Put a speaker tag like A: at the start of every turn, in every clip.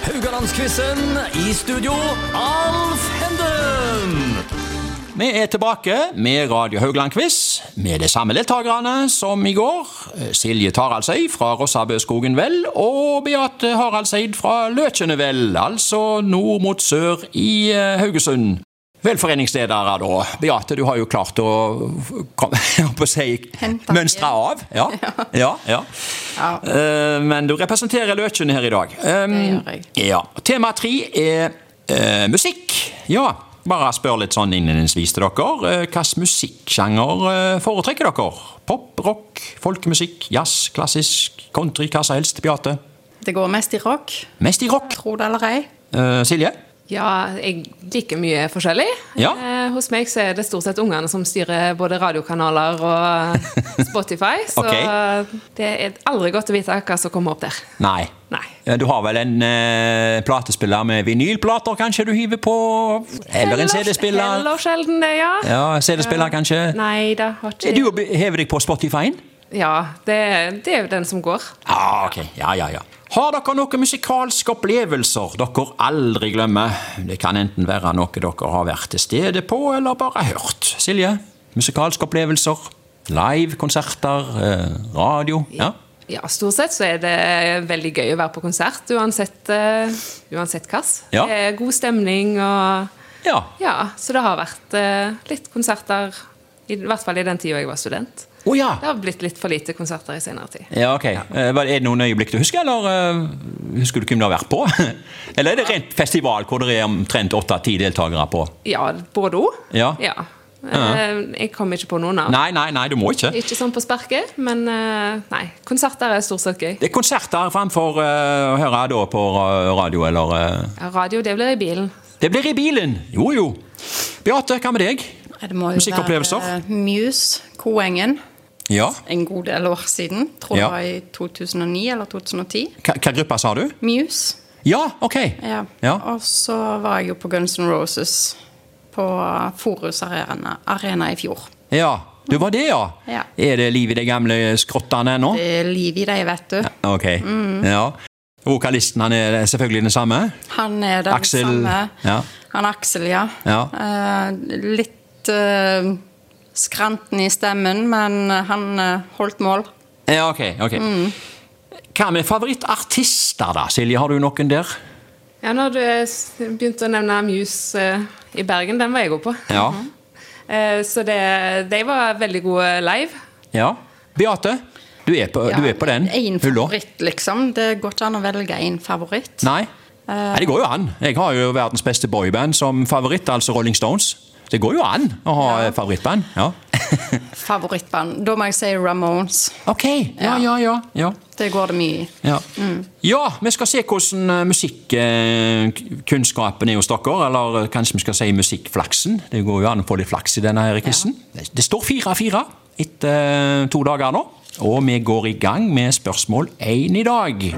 A: Rogalandsquizen. I studio, Alf Henden.
B: Vi er tilbake med Radio Haugland-quiz, med de samme deltakerne som i går. Silje Taraldseid fra Rossabøskogen Vel og Beate Haraldseid fra Løkjene Vel, altså nord mot sør i eh, Haugesund. Velforeningsledere, da. Beate, du har jo klart å kom, jeg holdt på å si,
C: Hente det.
B: mønstre av. Ja, ja, ja. Eh, Men du representerer Løkjene her i dag. Um,
C: Det gjør jeg.
B: ja. Tema tre er eh, musikk. Ja, bare spør litt sånn innledningsvis til dere. Eh, Hvilken musikksjanger eh, foretrekker dere? Pop, rock, folkemusikk, jazz, klassisk, country, hva som helst? Beate?
C: Det går mest i rock,
B: Mest i rock.
C: tro det eller ei.
B: Eh, Silje?
D: Ja, jeg liker mye forskjellig.
B: Ja.
D: Eh, hos meg så er det stort sett ungene som styrer både radiokanaler og Spotify. Så
B: Ok.
D: det er aldri godt å vite hva som kommer opp der.
B: Nei.
D: Nei.
B: Eh, Du har vel en eh, platespiller med vinylplater kanskje du hiver på? Eller en CD-spiller?
D: Heller sjelden det, ja.
B: Ja, CD-spiller kanskje?
D: Nei, det har ikke
B: Er du og be- hever deg på Spotify-en?
D: Ja, det, det er jo den som går.
B: Ja, ok. Ja, ja, ja. Har dere noen musikalske opplevelser dere aldri glemmer? Det kan enten være noe dere har vært til stede på, eller bare hørt. Silje, musikalske opplevelser? Live, konserter, eh, radio? Ja.
D: Ja, Stort sett så er det veldig gøy å være på konsert, uansett, eh, uansett hvilken.
B: Ja.
D: Det er god stemning og
B: ja.
D: Ja, så det har vært eh, litt konserter, i hvert fall i den tida jeg var student.
B: Å ja.
D: Det har blitt litt for lite konserter i senere tid.
B: Ja, ok. Eh, hva- Er det noen øyeblikk du husker, eller eh, husker du hvem du har vært på? eller er det rent festival hvor det er omtrent åtte-ti deltakere på?
D: Ja, både òg.
B: Ja.
D: Jeg kom ikke på noen av.
B: Nei, nei, nei, du må ikke.
D: Ikke sånn på sparket, men eh, nei. Konserter er stort sett gøy.
B: Det er konserter framfor eh, å høre da på eh, radio, eller eh,
D: Ja, radio, det blir i bilen.
B: Det blir i bilen! Jo, jo. Beate, hva med deg?
C: Nei, Det må jo
B: Musikkopplevelser?
C: være eh, Muse, Koengen,
B: Ja.
C: en god del år siden. Tror
B: Ja.
C: det var i 2009 eller 2010.
B: Hva, hva gruppe sa du?
C: Muse.
B: Ja, ok.
C: Ja.
B: Ja.
C: Og så var jeg jo på Guns N' Roses på Forus Arena, arena i fjor.
B: Ja, Du var det, ja?
C: Ja.
B: Er det liv i de gamle skrottene ennå?
C: Det Mm. er liv i deg, vet du.
B: Ok. Ja. Vokalisten han er selvfølgelig den samme?
C: Han er den
B: Aksel,
C: samme.
B: ja.
C: Han er Aksel, ja.
B: Ja.
C: Eh, litt eh, skranten i stemmen, men han eh, holdt mål.
B: Ja, ok. ok. Hva med favorittartister, da? Silje, har du noen der?
D: Ja, når du eh, s- begynte å nevne Muse eh, i Bergen, den var jeg òg på.
B: Ja.
D: Eh, Så det, de var veldig gode live.
B: ja. Beate, du er på, du er på den?
C: Én
B: Hulda?
C: favoritt, liksom. Det går ikke an å velge én favoritt.
B: Nei. Nei, det går jo an. Jeg har jo verdens beste boyband som favoritt, altså Rolling Stones. Det går jo an å ha eh, favorittband. Ja.
C: Favorittband. Da må jeg si Ramones.
B: Ok. Ja, ja, ja. ja.
C: Det går det mye i.
B: Ja. ja, vi skal se hvordan musikkunnskapen er hos dere. Eller eh, kanskje vi skal si musikkflaksen. Det går jo an å få litt flaks i denne her quizen. Det- Det står 4-4 etter eh, to dager nå. Og vi går i gang med spørsmål én i dag.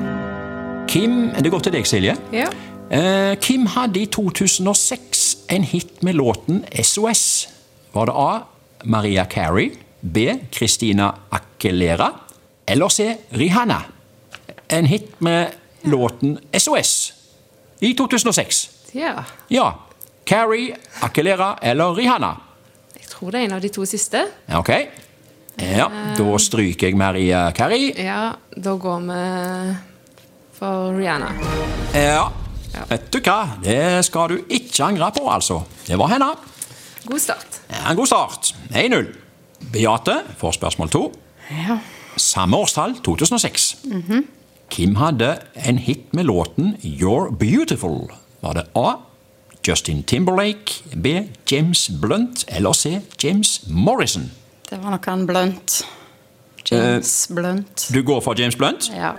B: Kim Det går til deg, Silje.
D: Ja.
B: Eh, Kim hadde i 2006 en hit med låten SOS. Var det A. Maria Carey, B. Christina Akelera eller C. Rihanna? En hit med låten SOS i 2006.
D: ja.
B: Ja. Carey, Akelera eller Rihanna?
D: Jeg tror det er en av de to siste.
B: Ja, Ok. Ja, da stryker jeg Maria Carey.
D: Ja, da går vi for Rihanna.
B: Ja. Vet du hva? Det skal du ikke angre på, altså. Det var henne.
D: God start.
B: Ja, En god start. 1-0. Beate får spørsmål to.
C: Ja.
B: Samme årstall, 2006. Kim hadde en hit med låten You're Beautiful. Var det A. Justin Timberlake, B. James Blunt eller C. James Morrison?
C: Det var nok han Blunt. James Blunt.
B: Eh, Du går for James Blunt?
C: Ja.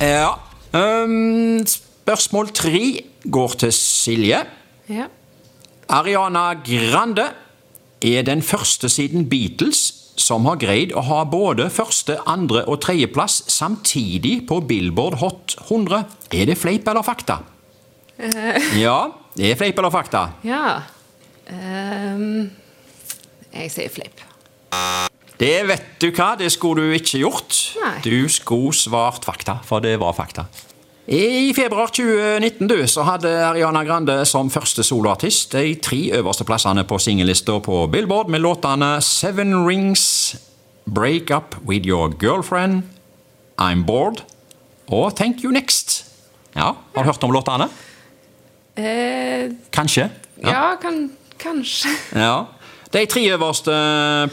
B: Ja. Ehm, spørsmål tre går til Silje.
D: Ja.
B: Ariana Grande er den første siden Beatles som har greid å ha både første, andre og tredjeplass samtidig på Billboard Hot 100. Er det fleip eller fakta? Ja, det er fleip eller fakta.
D: ja. Ehm, jeg sier fleip.
B: Det vet du hva, det skulle du ikke gjort.
D: Nei.
B: Du skulle svart fakta, for det var fakta. I februar 2019 du, så hadde Ariana Grande som første soloartist de tre øverste plassene på singellista på Billboard med låtene Seven Rings, Break Up With Your Girlfriend, I'm Bored og Thank You Next. Ja, Har du hørt om låtene?
D: Eh,
B: Kanskje?
D: ja, kan, kanskje.
B: Ja. De tre øverste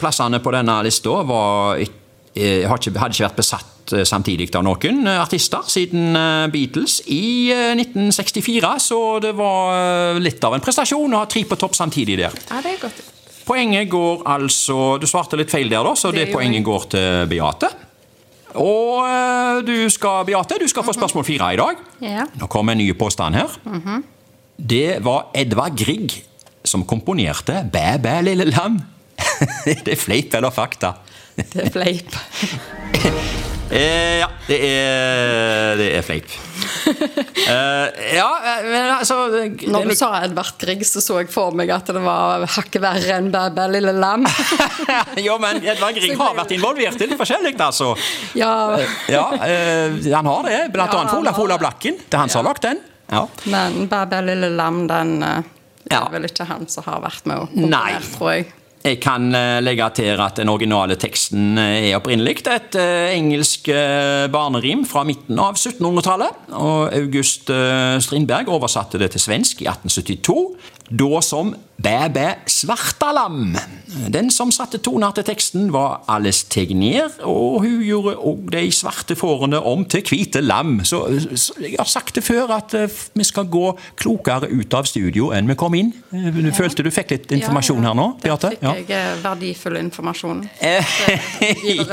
B: plassene på denne lista var, eh, har ikke- hadde ikke vært besatt eh, samtidig av noen eh, artister siden eh, Beatles i eh, 1964, så det var eh, litt av en prestasjon å ha tre på topp samtidig der.
D: Ja, det er godt.
B: Poenget går altså Du svarte litt feil der, da, så det,
D: Det gjorde
B: poenget
D: jeg.
B: går til Beate. Og eh, du skal, Beate, du skal få spørsmål fire i dag.
C: Ja.
B: Nå kommer en ny påstand her. Det var Edvard Grieg som komponerte Bæ, bæ, lille lam. det er fleip eller fakta?
C: Det er fleip.
B: Eh, ja, det er, det er fleip. Eh, ja, eh, men altså det er
C: Når du
B: litt-
C: sa Edvard Grieg, så så jeg for meg at det var hakket verre enn Bæbæ lille lam.
B: Jo, men Edvard Grieg har vært involvert i litt forskjellig, altså.
C: Ja,
B: Ja, eh, han har det. Blant
C: Ja,
B: annet
C: han
B: Ola
C: har
B: Fola
C: det.
B: Blakken. Det er han som har lagd den. Ja.
C: men Bæbæ lille lam, den eh,
B: Ja.
C: er vel ikke han som har vært med å
B: Nei.
C: komponere, tror jeg.
B: Jeg kan eh, legge til at den originale teksten eh, er opprinnelig et eh, engelsk eh, barnerim fra midten av 1700-tallet. Og August eh, Strindberg oversatte det til svensk i 1872, da som Bæ bæ svarta lam. Den som satte toner til teksten, var Alice Tegner, og hun gjorde òg de svarte fårene om til hvite lam. Så, så jeg har sagt det før, at eh, vi skal gå klokere ut av studio enn vi kom inn. Eh, Følte du fikk litt informasjon her nå, Beate?
C: Fikk jeg eh, verdifull informasjon.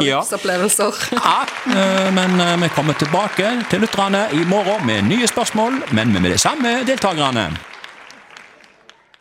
B: ja.
C: Opplevelser.
B: ja. eh, Men eh, vi kommer tilbake til lytterne i morgen med nye spørsmål, men med de samme deltakerne.